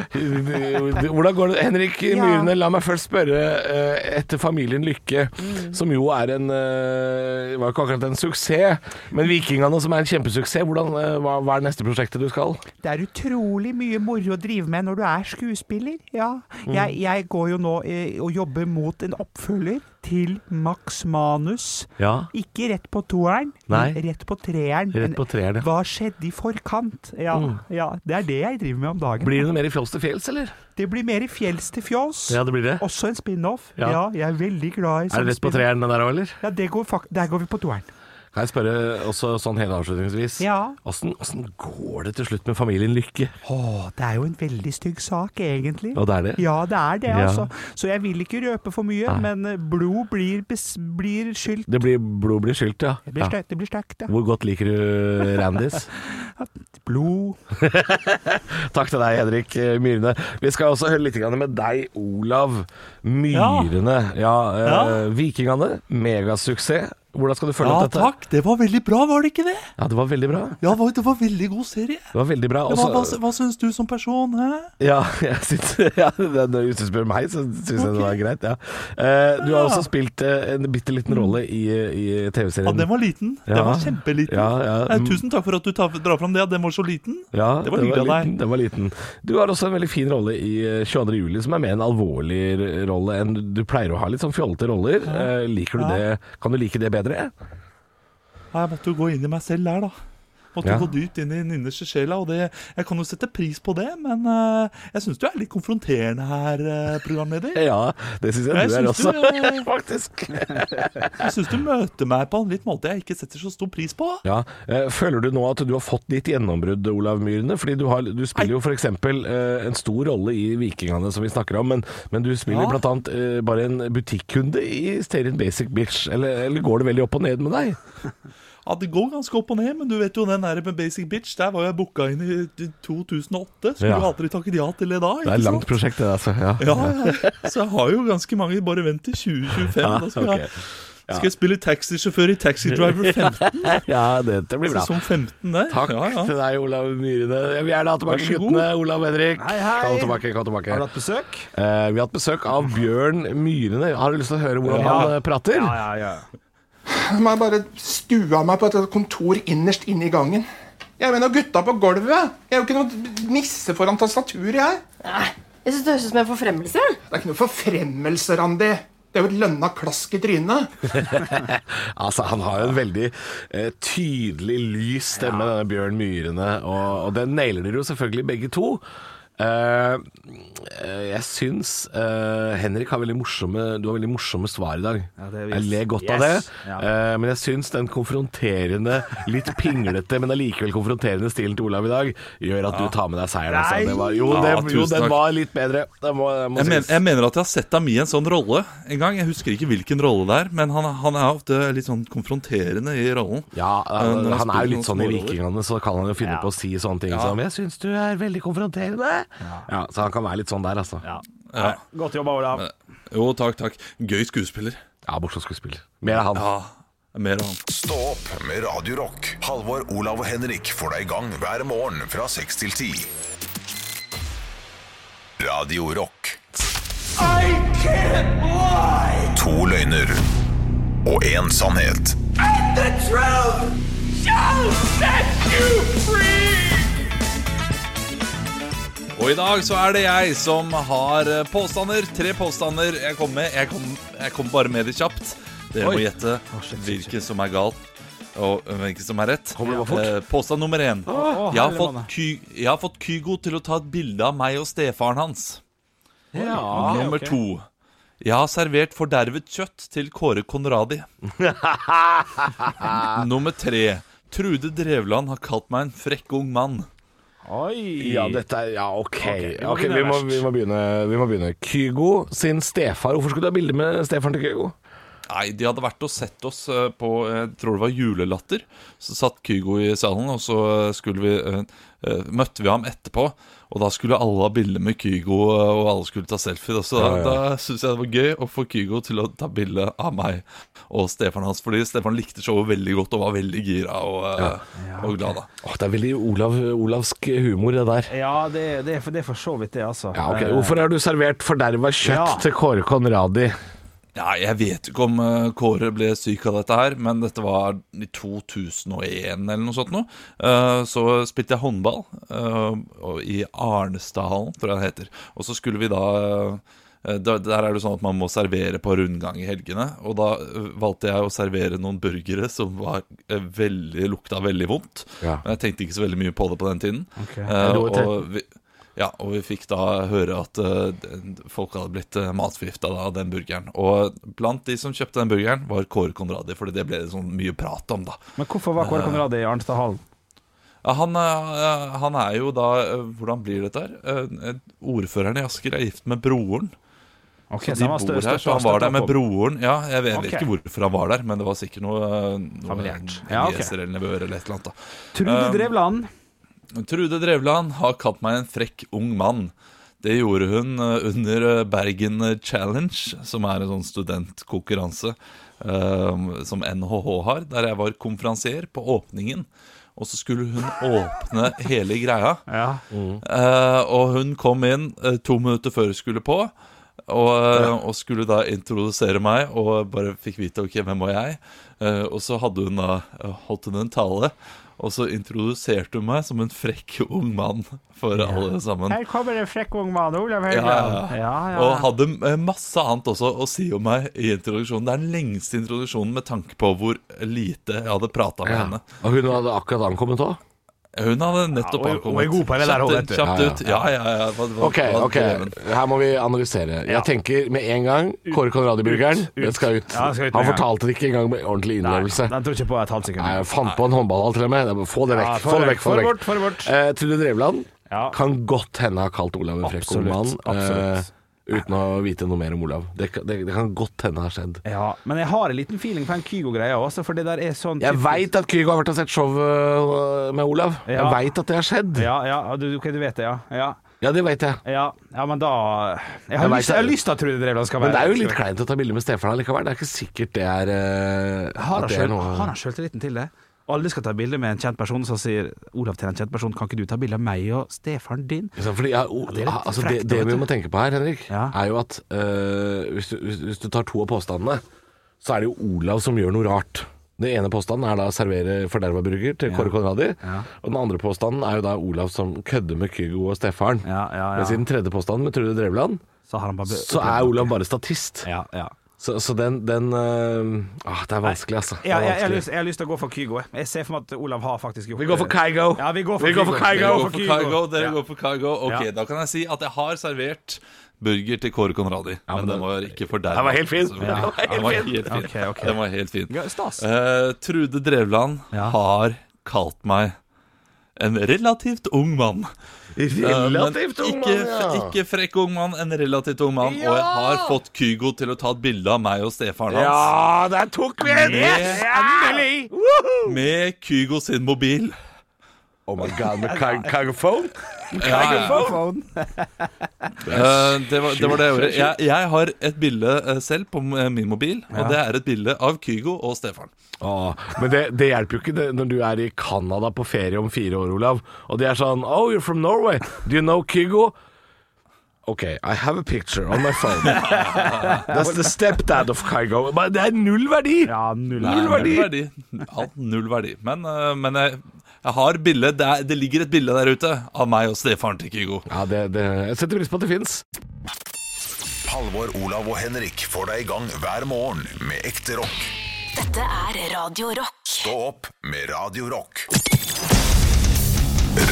C: Hvordan går det? Henrik Myrene, la meg først spørre eh, etter familien Lykke,
L: Mm.
C: som jo er en eh, Var jo ikke akkurat en suksess, men Vikingene som er en kjempesuksess. Hvordan, eh, hva, hva er neste prosjektet du skal?
L: Det er utrolig mye moro å drive med når du er skuespiller. Ja.
E: Mm.
L: Jeg, jeg går jo nå eh, og jobber mot en oppfølger til Max Manus.
C: Ja,
L: Ikke rett på toeren,
C: Nei.
L: men rett på treeren.
C: Rett på treeren, ja.
L: Hva skjedde i forkant? Ja, ja, det er det jeg driver med om dagen.
C: Blir det noe mer i Fjols til fjells, eller?
L: Det blir mer i fjells til fjols.
C: Ja, det blir det.
L: Også en spin-off.
C: Ja.
L: Ja. jeg er veldig glad i
C: Er det rett på
L: spin-off.
C: treeren der òg, eller?
L: Ja, det går fak der går vi på toeren.
C: Kan jeg spørre også sånn helt avslutningsvis?
L: Ja.
C: Åssen åssen går det til slutt med familien Lykke?
L: Å, det er jo en veldig stygg sak, egentlig.
C: Og det er det?
L: Ja, det er det,
C: Ja.
L: altså. Så jeg vil ikke røpe for mye, men eh, blod blir, bes blir skylt.
C: Det blir, blod blir skylt, ja.
L: Det blir
C: ja.
L: støkt, det blir støkt, ja.
C: Hvor godt liker du Randis?
L: Blod.
C: Takk til deg, Henrik Myrene. Vi skal også høre litt grann med deg, Olav Myrene. Ja, eh, Vikingene, megasuksess. Hvordan skal du følge
D: Ja
C: opp dette?
D: takk, det var veldig bra, var det ikke det?
C: Ja, det var veldig bra.
D: Ja, det var- det var veldig god serie.
C: Det var veldig bra.
D: Ja, hva, hva,
C: Også,
D: hva syns du som person, hæ?
C: ja, jeg syns, ja, det- det- hvis du spør meg, så syns jeg det var greit. Ja. Eh, du har også spilt eh, en bitte liten rolle i, i
D: Ja,
C: TV-serien.
D: den var liten.
C: Ja.
D: Den var kjempeliten.
C: Ja, ja.
D: Nei, tusen takk for at du tar, drar fram det, at den var så liten.
C: Ja,
D: det var hyggelig av
C: liten,
D: deg.
C: den var liten. Du har også en veldig fin rolle i eh, 22. juli, som er mer en alvorlig r- rolle enn du pleier å ha. Litt sånn fjollete roller. Eh, liker du
D: Ja.
C: det? Kan du like det bedre?
D: Nei, jeg måtte jo gå inn i meg selv der, da. Måtte
C: Ja.
D: gå dypt inn i den innerste sjela, og det, jeg kan jo sette pris på det, men eh, jeg syns du er litt konfronterende her, eh, programleder.
C: Ja, det syns jeg,
D: Jeg
C: du er
D: syns
C: også.
D: du er-
C: Faktisk.
D: Jeg syns du møter meg på en litt måte jeg ikke setter så stor pris på.
C: Ja, eh, Føler du nå at du har fått ditt gjennombrudd, Olav Myrene? Fordi du, har, du spiller jo f.eks. Eh, en stor rolle i Vikingene, som vi snakker om, men, men du spiller
D: Ja.
C: blant bl.a. Eh, bare en butikkunde i Sterin Basic Bitch. Eller, eller går det veldig opp og ned med deg?
D: Ja, Det går ganske opp og ned, men du vet jo den der med Basic Bitch, der var jeg booka inn i 2008. Skulle
C: Ja.
D: jo aldri takket ja til det da.
C: Det er
D: ikke
C: et langt
D: sant?
C: prosjekt, det der. Altså. Ja.
D: Ja, ja, så jeg har jo ganske mange. Bare vent til 2025. da skal,
C: ok.
D: jeg, skal jeg spille taxisjåfør i Taxi Driver 15?
C: ja, dette blir bra.
D: Sesong 15 der.
C: Takk
D: ja, ja.
C: til deg, Olav Myhrene. Jeg vil gjerne ha tilbake
E: Vær så god.
C: guttene, Olav Henrik.
E: Hei, hei.
C: Kom tilbake, kom tilbake.
E: Har du hatt besøk?
C: Eh, vi har hatt besøk av Bjørn Myrene. Har du lyst til å høre hvordan
E: Ja.
C: han eh, prater?
E: Ja, ja, ja.
M: Jeg må bare stua meg på et kontor innerst inne i gangen. Jeg mener gutta på gulvet. Jeg er jo ikke noe nisse foran tastaturet, jeg.
N: Jeg synes det høres ut som en forfremmelse.
M: Det er ikke noe forfremmelse, Randi. Det er jo et lønna klask i trynet.
C: Altså, han har jo en veldig eh, tydelig lys stemme, denne Bjørn Myrene, og, og den nailer dere jo selvfølgelig begge to. Eh, eh, jeg syns eh, Henrik har veldig morsomme Du har veldig morsomme svar i dag.
E: Ja, det er-
C: jeg ler godt av det.
E: Yes. Ja.
C: Eh, men jeg syns den konfronterende, litt pinglete, men allikevel konfronterende stilen til Olav i dag, gjør at du tar med deg seieren. Altså. Det var, jo,
D: Nei.
C: det,
D: Ja,
C: jo,
D: tusen
C: den
D: takk.
C: var litt bedre. Det må, det må
D: Jeg, men,
C: sies.
D: jeg mener at jeg har sett ham i en sånn rolle en gang. Jeg husker ikke hvilken rolle det er, men han, han er ofte litt sånn konfronterende i rollen.
C: Ja,
D: Eh,
C: han,
D: når
C: han er jo
D: spiller noen
C: litt sånn i
D: småroller.
C: Vikingene, så kan han jo finne
E: Ja.
C: på å si sånne ting
D: Ja.
C: som 'Jeg syns du er veldig konfronterende'. Ja. Så han kan være litt sånn der, altså.
E: Ja.
D: Ja.
E: Godt jobba, Olav.
D: Jo, takk, takk. Gøy skuespiller.
C: Ja, Bortsett fra skuespiller. Mer av han.
D: Ja, mer av han.
A: Stå opp med Radio Rock. Halvor, Olav og Henrik får deg i gang hver morgen fra 6 til 10. Radio Rock.
F: I can't lie!
A: To løgner og én sannhet.
F: And the truth shall set you free!
D: Og i dag så er det jeg som har eh, påstander. Tre påstander jeg kom med. Jeg kom, jeg kom bare med det kjapt. Dere må
C: Oi.
D: gjette hvilke som er galt, og eh, hvilke som er rett.
C: Kommer det bare fort?
D: Eh, Påstand nummer én.
E: Å,
D: Jeg har,
E: herre
D: fått
E: mann.
D: Ky jeg har fått Kygo til å ta et bilde av meg og stefaren hans.
C: Ja.
D: nummer to. Jeg har servert fordervet kjøtt til Kåre Konradi. nummer tre. Trude Drevland har kalt meg en frekk ung mann.
E: Oi!
C: ja, dette er Ja, OK.
E: vi må
C: Ok,
E: begynne
C: vi, må,
E: verst.
C: vi, må begynne, vi må begynne. Kygo sin stefar. Hvorfor skulle du ha bilde med stefaren til Kygo?
D: Nei, de hadde vært og sett oss eh, på Jeg tror det var julelatter. Så satt Kygo i salen, og så eh, skulle vi eh, eh, møtte vi ham etterpå. Og da skulle alle ha bilde med Kygo, eh, og alle skulle ta selfie. Og så
C: Ja, ja.
D: da syntes jeg det var gøy å få Kygo til å ta bilde av meg og stefaren hans. Fordi stefaren likte showet veldig godt og var veldig gira og, eh, og glad, da.
C: Åh, det er veldig Olav, olavsk humor, det der.
E: Ja, det, er- det, er for- det er for så vidt det, altså.
C: Ja, ok. Hvorfor har du servert forderva kjøtt
E: Ja.
C: til Kåre Konradi?
D: Ja, jeg vet ikke om eh, Kåre ble syk av dette her, men dette var i 2001 eller noe sånt noe. Eh, Så spilte jeg håndball eh, og i Arnestadhallen, tror jeg det heter. Og så skulle vi da eh, der, der er det jo sånn at man må servere på rundgang i helgene. Og da eh, valgte jeg å servere noen burgere som var eh, veldig, lukta veldig vondt.
C: Ja.
D: Men jeg tenkte ikke så veldig mye på det på den tiden.
E: Ok.
D: Eh,
C: Lå til-
D: og vi, ja, og vi fikk da høre at eh, den- folk hadde blitt uh, matforgifta av den burgeren. Og blant de som kjøpte den burgeren, var Kåre Konradi, for det ble det sånn mye prat om, da.
E: Eh, Men hvorfor var
C: Eh,
E: Kåre Konradi i Arnstadhallen?
D: Ja, han, eh, han er jo da eh, Hvordan blir dette her? Eh, eh, ordføreren i Asker er gift med broren.
E: Ok,
D: De bor her, så han var der med broren. Ja, jeg vet, jeg vet
E: Ok.
D: ikke hvorfor han var der, men det var sikkert noe, eh, noe
E: Familiært. Ja, ok.
D: nieser eller nevøer eller et eller annet. da
E: Trude
D: Um,
E: Drevland.
D: Trude Drevland har kalt meg en frekk ung mann. Det gjorde hun eh, under eh, Bergen Challenge, som er en sånn studentkonkurranse eh, som NHH har, der jeg var konferansier på åpningen. Og så skulle hun åpne hele greia. Eh, og hun kom inn eh, to minutter før hun skulle på. Og, eh, og skulle da introdusere meg, og bare fikk vite ok, hvem var jeg. Eh, og så hadde hun da eh, holdt hun en tale, og så introduserte hun meg som en frekk ung mann for alle sammen.
O: Her kommer en frekk ung mann, Olav
D: Ja,
O: Høyland.
D: ja, ja.
O: Ja, ja.
D: Og hadde eh, masse annet også å si om meg i introduksjonen. Det er den lengste introduksjonen med tanke på hvor lite jeg hadde prata med
C: Ja.
D: henne.
C: Og hun hadde akkurat ankommet òg?
D: Hun hadde
C: Ja,
D: nettopp
C: og- og
D: ankommet.
C: er god på det der
D: Kjapt
C: også,
D: ut,
C: vet du.
D: Kjapt
C: Ja, ja.
D: ut. Ja, ja, ja. Hva- hva-
C: Ok,
D: hva-
C: ok, her må vi analysere. Jeg tenker med en gang Kåre Conradi-burgeren,
E: Ut.
C: den skal ut.
E: Ja, den skal ut med
C: Han
E: en gang.
C: fortalte det ikke engang med ordentlig innlevelse.
E: Den tror ikke på et halvt sekund.
C: Nei, jeg fant på en håndballhall til og med. Jeg må Få det vekk.
E: Ja, få
C: få det
E: det
C: vekk, få det
E: vekk.
C: vekk.
E: Få det bort,
C: Eh, Trude Drevland
E: Ja.
C: kan godt hende ha kalt Olav en frekk ung
E: Absolutt,
C: mann. eh,
E: absolutt.
C: Uten å vite noe mer om Olav. Det, kan- det, det kan godt hende har skjedd.
E: Ja, men jeg har en liten feeling på den Kygo-greia også, for det der er sånn
C: Jeg
E: typisk-
C: veit at Kygo har vært og sett show eh, med Olav. Jeg
E: Ja.
C: veit at det har skjedd.
E: Ja, ja, du, ok, du vet det, ja. Ja,
C: Ja, det veit jeg.
E: ja, ja men da Jeg har,
C: Jeg vet
E: lyst, jeg har
C: det.
E: lyst til at Trude Drevland skal
C: Men
E: være
C: det er jo litt kleint å ta bilde med stefaren likevel. Det er ikke sikkert det er eh,
E: Har
C: at
E: han
C: det er
E: sjøl-
C: noe
E: har han sjøltilliten til det? Alle skal ta bilde med en kjent person, så sier Olav til en kjent person Kan ikke du ta bilde av meg og stefaren din?
C: Ikke sant? Fordi, ja, o-
E: det er litt
C: altså,
E: frekt,
C: det, det
E: vet
C: vi
E: du.
C: må tenke på her, Henrik, er jo at øh, hvis, du, hvis, hvis du tar to av påstandene, så er det jo Olav som gjør noe rart. Den ene påstanden er da å servere forderva burger til Kåre Conradi. Og den andre påstanden er jo da Olav som kødder med Kygo og stefaren. Mens i den tredje påstanden med Trude Drevland,
E: Så, har han bare
C: så er Olav bare statist. Så, så den, den øh, ah, Det er vanskelig, altså. Det
E: Ja,
C: er
E: jeg, jeg, har
C: vanskelig.
E: lyst, jeg har lyst til å gå for Kygo. jeg. Jeg ser for meg at Olav har faktisk gjort
C: Vi går for Kygo.
E: Ja, vi går for
C: Vi går for
D: Dere
C: Kygo.
D: går for Kygo, dere
E: Ja.
D: går for Kygo. Ok,
E: Ja.
D: da kan jeg si at jeg har servert burger til Kåre Conradi. men den var ikke for deg.
C: Den var helt fin.
D: Den
C: Den var helt
D: var helt
C: fin.
D: fin.
E: Ok, ok.
D: Den var helt fin.
E: Ja, stas.
D: Eh, Trude Drevland har kalt meg en relativt ung mann.
C: Relativt
D: Eh, men
C: ung
D: ikke,
C: mann, ja.
D: Ikke frekk ung mann, en relativt ung mann. Og jeg har fått Kygo til å ta et bilde av meg og stefaren hans.
C: Ja, der tok vi en!
D: Yes,
C: endelig!
D: Med Kygo sin mobil.
C: Oh my god, med Ky- Kygophone?
D: Ja, ja. Eh, det, var, det var det jeg gjorde. Jeg, jeg har et bilde eh, selv på eh, min mobil,
C: Ja.
D: og det er et bilde av Kygo og stefaren.
C: Ah, men det, det hjelper jo ikke det, når du er i Canada på ferie om fire år, Olav. Og de er sånn Oh, you're from Norway. Do you know Kygo? Ok, I have a picture on my phone. That's the stepdad of Kygo. Men det er null verdi!
D: Nei,
C: null verdi.
D: Alt null verdi. Men, eh, men jeg, jeg har bilde. Det, er, det ligger et bilde der ute av meg og stefaren til Kygo.
C: Ja, det, det, jeg setter pris på at det fins.
A: Halvor, Olav og Henrik får deg i gang hver morgen med ekte rock.
B: Dette er Radio Rock.
A: Stå opp med Radio Rock.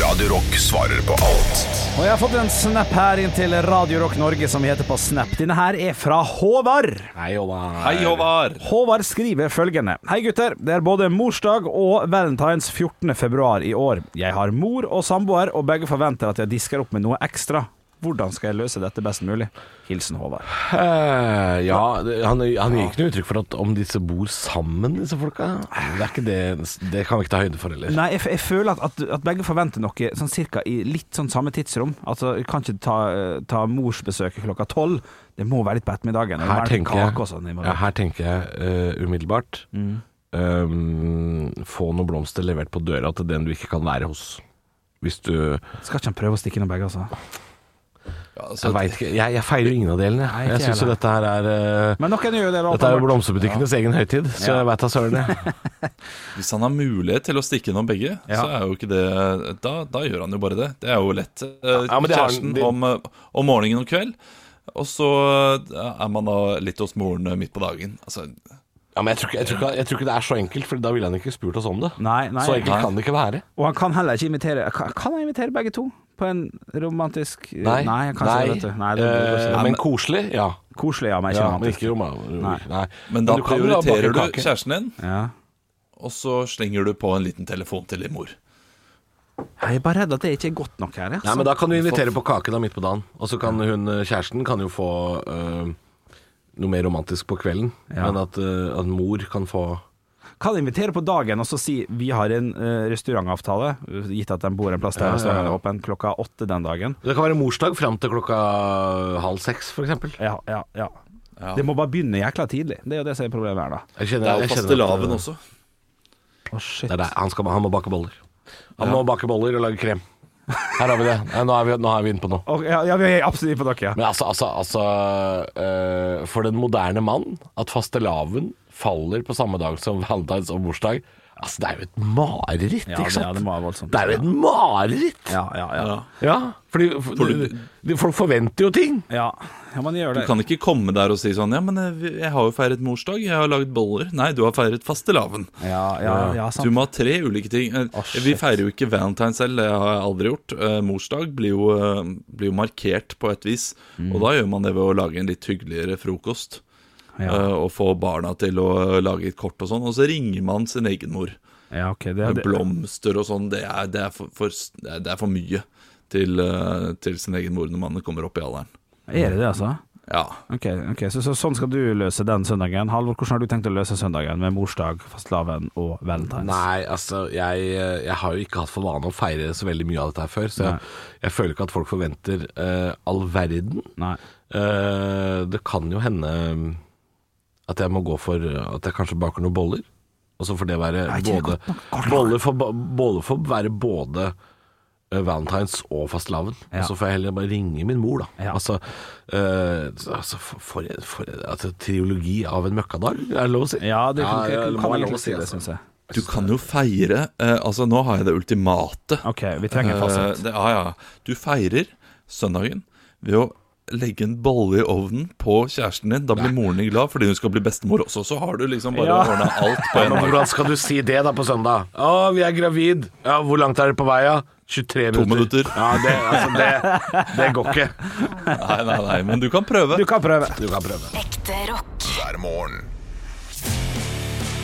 A: Radio Rock svarer på alt.
E: Og jeg har fått en snap her inn til Radio Rock Norge som vi heter på Snap. Denne her er fra Håvard.
C: Hei, Håvard.
D: Hei, Håvard.
E: Håvard skriver følgende. Hei gutter, det er både morsdag og valentines 14. februar i år. Jeg har mor og samboer, og begge forventer at jeg disker opp med noe ekstra. Hvordan skal jeg løse dette best mulig? Hilsen Håvard.
C: Eh, ja, det- han, han gir ikke noe uttrykk for at om disse bor sammen, disse folka. Det, er ikke det, det kan vi ikke ta høyde for heller.
E: Nei, jeg, f- jeg føler at, at, at begge forventer noe sånn cirka i litt sånn samme tidsrom. Altså, jeg kan ikke ta, eh, ta morsbesøket klokka tolv. Det må være litt på ettermiddagen. og det må
C: Her
E: være litt
C: tenker jeg,
E: kake Mm. og sånn i morgen.
C: ja, her tenker jeg eh, umiddelbart ehm, Få noen blomster levert på døra til den du ikke kan være hos. Hvis du
E: Skal ikke han prøve å stikke innom begge, altså?
D: altså,
C: Jeg veit ikke. Jeg, jeg feirer jo ingen av delene.
E: Nei, ikke
C: Jeg syns jo
E: heller.
C: dette her er eh,
E: Men noen gjør jo det,
C: Dette
E: da.
C: er jo
E: åpenbart.
C: blomsterbutikkenes egen høytid, så
E: Ja.
C: jeg veit da søren. jeg.
D: Hvis han har mulighet til å stikke innom begge,
C: Ja.
D: så er jo ikke det da, da gjør han jo bare det. Det er jo lett. Eh,
C: Ja, men det har han-
D: Kjæresten
C: det-
D: om, eh, om morgenen og kveld, og så eh, er man da litt hos moren eh, midt på dagen. Altså,
C: Ja, men jeg tror, ikke, jeg, tror ikke, jeg tror ikke det er så enkelt, for da ville han ikke spurt oss om det.
E: Nei, nei.
C: så enkelt
E: Nei.
C: kan det ikke være.
E: Og han kan heller ikke invitere Kan kan han invitere begge to? På en romantisk
C: Nei.
E: nei han kan ikke det, vet du. Nei, det, det, går
C: Eh,
E: ikke.
C: men koselig, ja.
E: Koselig, ja, men ikke
C: Ja, men
E: romantisk.
C: ikke romantisk. Nei.
D: men da
C: du kan jo da bake
D: prioriterer du
C: kake.
D: kjæresten din,
E: Ja.
D: og så slenger du på en liten telefon til din mor.
E: Jeg er bare redd at det ikke er godt nok her. Altså.
C: Nei, men da kan du invitere på kake da midt på dagen. Og så kan hun, eh, kjæresten kan jo få eh, noe mer romantisk på kvelden.
E: Ja.
C: Men at, eh, at mor kan få
E: Kan invitere på dagen og så si vi har en eh, restaurantavtale, gitt at de bor en plass der
C: Ja, ja, ja.
E: restauranten er åpen klokka åtte den dagen.
C: Det kan være morsdag fram til klokka halv seks, f.eks.
E: Ja, ja, ja.
D: Ja.
E: Det må bare begynne jækla tidlig. Det er jo det som er problemet her, da.
P: Jeg kjenner- Det er jo jeg kjenner at-
E: eh,
P: fastelavn også.
E: Å, shit.
P: Det er det. Han, skal, han må bake boller. Han
E: Ja.
P: må bake boller og lage krem. Her har vi det. Nei, Nå er vi, nå er vi inne på noe.
E: Ok, ja, ja, vi er absolutt på dere.
C: Men altså, altså, altså eh, For den moderne mann, at fastelavn faller på samme dag som valentines og bursdag Altså, det er jo et mareritt,
E: Ja,
C: ikke
E: det,
C: sant?
E: ja, det må være voldsomt.
C: Det er jo et mareritt!
E: Ja, ja, ja.
C: Ja, fordi for, de- folk forventer jo ting.
E: Ja, ja man gjør
D: Du
E: det.
D: kan ikke komme der og si sånn Ja, men jeg, jeg har jo feiret morsdag, jeg har laget boller. Nei, du har feiret fastelavn.
E: Ja, ja, ja, sant.
D: Du må ha tre ulike ting. Eh, Vi feirer jo ikke valentine selv, det har jeg aldri gjort. Eh, Morsdag blir jo, eh, blir jo markert på et vis,
E: Mm.
D: og da gjør man det ved å lage en litt hyggeligere frokost.
E: Ja.
D: eh, Og få barna til å lage et kort og sånn, og så ringer man sin egen mor.
E: Ja, ok, det,
D: Med
E: det,
D: blomster og sånn, det, er- det, er for- for- det er- det er for mye til, eh, til sin egen mor når man kommer opp i alderen.
E: Er det det, altså?
D: Ja.
E: Ok, ok, så, så sånn skal du løse den søndagen. Halvor, hvordan har du tenkt å løse søndagen med morsdag, fastelavn og valentines?
C: Nei, altså, jeg, jeg har jo ikke hatt for vane å feire så veldig mye av dette her før, så jeg, jeg føler ikke at folk forventer eh, all verden.
E: Nei.
C: Eh, det kan jo hende mm, at jeg må gå for at jeg kanskje baker noen boller. Og så får det være
E: Nei, det er
C: både Boller får, ba- boller får være både eh, Valentines og fastelavn.
E: Ja.
C: Og så får jeg heller bare ringe min mor, da.
E: Ja.
C: Altså, eh, altså for, for, for altså, Triologi av en møkkadag, er det lov å si?
E: Ja, det kan,
C: det
E: kan,
C: må være
E: kan man
C: lov å
E: egentlig si det,
C: altså.
E: syns jeg.
D: Du kan jo feire eh, Altså, nå har jeg det ultimate.
E: Ok, vi trenger en fasit.
D: Eh, det- ja, ja. Du feirer søndagen ved å legge en bolle i ovnen på kjæresten din. Da blir moren din glad fordi hun skal bli bestemor også. Så har du liksom bare
P: Ja.
D: ordnet ordna alt på
C: Ja,
D: en
C: men
D: dag.
C: hvordan skal du si det da på søndag? Å, vi er gravid. Ja, hvor langt er det på vei, da? 23 minutter.
D: To minutter.
C: Ja, det, altså, det, det går ikke.
D: Nei, nei, nei, men du kan prøve.
E: Du kan prøve.
C: Du kan prøve.
B: Ekte rock.
A: hver morgen.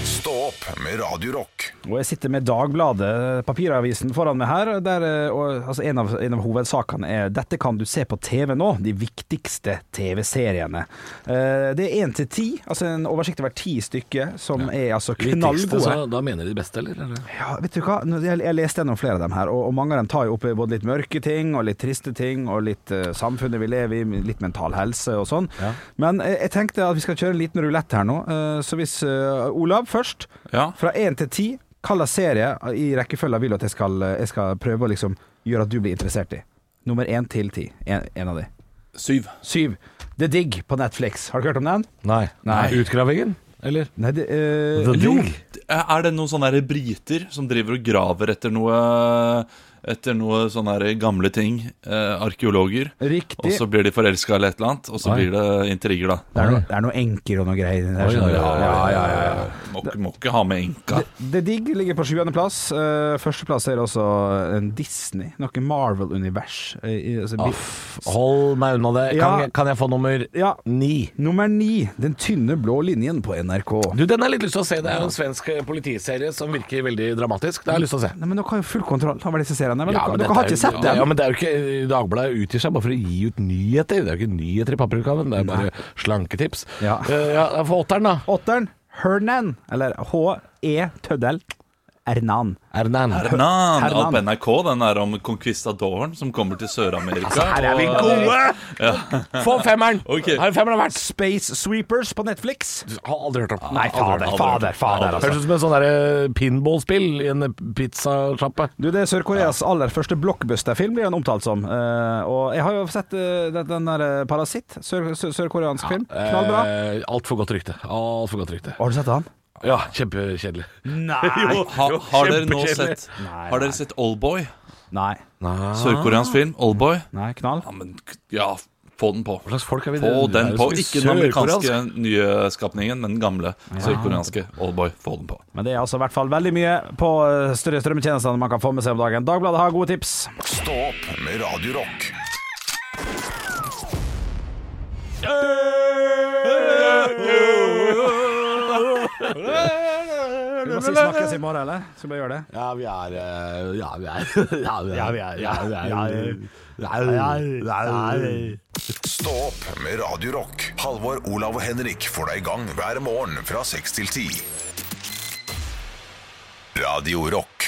A: Stå opp med Radio Rock.
E: Og jeg sitter med Dagbladet, papiravisen, foran meg her. Der, eh, og, altså, en, av, en av hovedsakene er 'Dette kan du se på TV nå', de viktigste TV-seriene. Eh, det er én til ti, altså en oversikt over ti stykker, som er altså
C: Viktigste, så
E: knallgode.
C: da mener de det beste, eller? eller?
E: Ja, vet du hva? Nå- Jeg, jeg leste gjennom flere av dem her, og, og mange av dem tar jo opp eh, både litt mørke ting, og litt triste ting, og litt eh, samfunnet vi lever i, litt mental helse og sånn. Men eh, jeg tenkte at vi skal kjøre en liten rulett her nå. eh, så hvis eh, Olav først,
D: Ja.
E: fra én til ti, hva slags serie eh, i rekkefølgen vil du at jeg skal, eh, jeg skal prøve å liksom gjøre at du blir interessert i? Nummer én til ti. En, en av de.
D: Syv.
E: Syv. The Dig på Netflix. Har du hørt om den?
P: Nei.
E: Nei.
C: Utgravingen, eller?
E: Nei, det, eh,
D: Jo, er det noen sånne her briter som driver og graver etter noe etter noe sånne her gamle ting, eh, arkeologer,
E: Riktig.
D: og så blir de forelska eller et eller annet, og så
E: Oi.
D: blir det intriger, da.
E: Det er, noe, det er noe enker og noe greier. i den der,
D: Oi,
E: skjønner du.
D: ja,
E: Ja, ja, ja, ja.
D: Må, ikke- må ikke ha med enka.
E: The Dig ligger på sjuendeplass. Uh, Førsteplass er også eh, en Disney, noe Marvel-univers. eh, i- altså, vi-
P: Hold meg unna det. Kan,
E: Ja.
P: jeg- kan jeg få nummer
E: ja,
P: ni?
E: nummer ni, Den tynne blå linjen på NRK.
C: Du, den har jeg litt lyst til å se. Det er jo en svensk eh, politiserie som virker veldig dramatisk. Det har jeg lyst til å se.
E: Nei, men Dere har jo full kontroll over disse seriene. Men
C: Ja,
E: dere,
C: men
E: dere
C: dette
E: har
C: er
E: ikke
C: jo-
E: sett
C: Ja,
E: dem?
C: men det er jo ikke eh, Dagbladet utgir seg bare for å gi ut nyheter. Det er jo ikke nyheter i papirutgaven, det er bare slanketips.
E: Ja.
C: Eh, ja for åtteren, da.
E: Åtteren, Hernan, eller H-E-Tøddel Ernan.
C: Ernan.
D: Hernan,
E: Hernan.
D: ja, på NRK, den er om conquistadoren som kommer til Sør-Amerika.
C: Her er vi
E: Altså,
D: og-
C: gode! Få femmeren!
D: Ok.
C: Her er femmeren verdt!
E: Space Sweepers på Netflix.
C: Har aldri hørt om.
E: Nei, fader, fader, fader, altså.
C: Høres ut som en sånn der, eh, pinballspill i en pizzasjappe.
E: Du, Det er Sør-Koreas aller første blockbuster-film, blir den omtalt som. Eh, og jeg har jo sett eh, den- den der eh, Parasitt, sør- sør- sørkoreansk film. Knallbra.
C: Eh, Altfor godt rykte. Alt for godt rykte.
E: Har du sett han?
C: Ja, kjempekjedelig.
E: Nei.
D: Jo, ha, har dere nå
C: kjempekjedelig.
D: sett
E: Nei,
D: Har dere sett Oldboy?
E: Nei.
D: Sørkoreansk film, Oldboy?
E: Nei, knall.
D: Ja, men ja, få den på.
C: Hva slags folk er vi?
D: Få
C: Det er
D: den
C: jo
D: på.
C: så
D: Ikke den
C: sørkoreansk.
D: amerikanske nye skapningen, men den gamle sørkoreanske Oldboy. Få den på.
E: Men det er altså i hvert fall veldig mye på eh, større strømmetjenester man kan få med seg om dagen. Dagbladet har gode tips.
A: Stå opp med Radio Rock.
E: Vi må si snakkes i morgen, eller? Skal vi bare gjøre det?
C: Ja, vi er eh, Ja, vi er Ja, vi er Ja, vi er Ja, vi er Ja, vi er Ja, vi er
A: Stå opp med Radio Rock. Halvor, Olav og Henrik får deg i gang hver morgen fra 6 til 10. Radio Rock.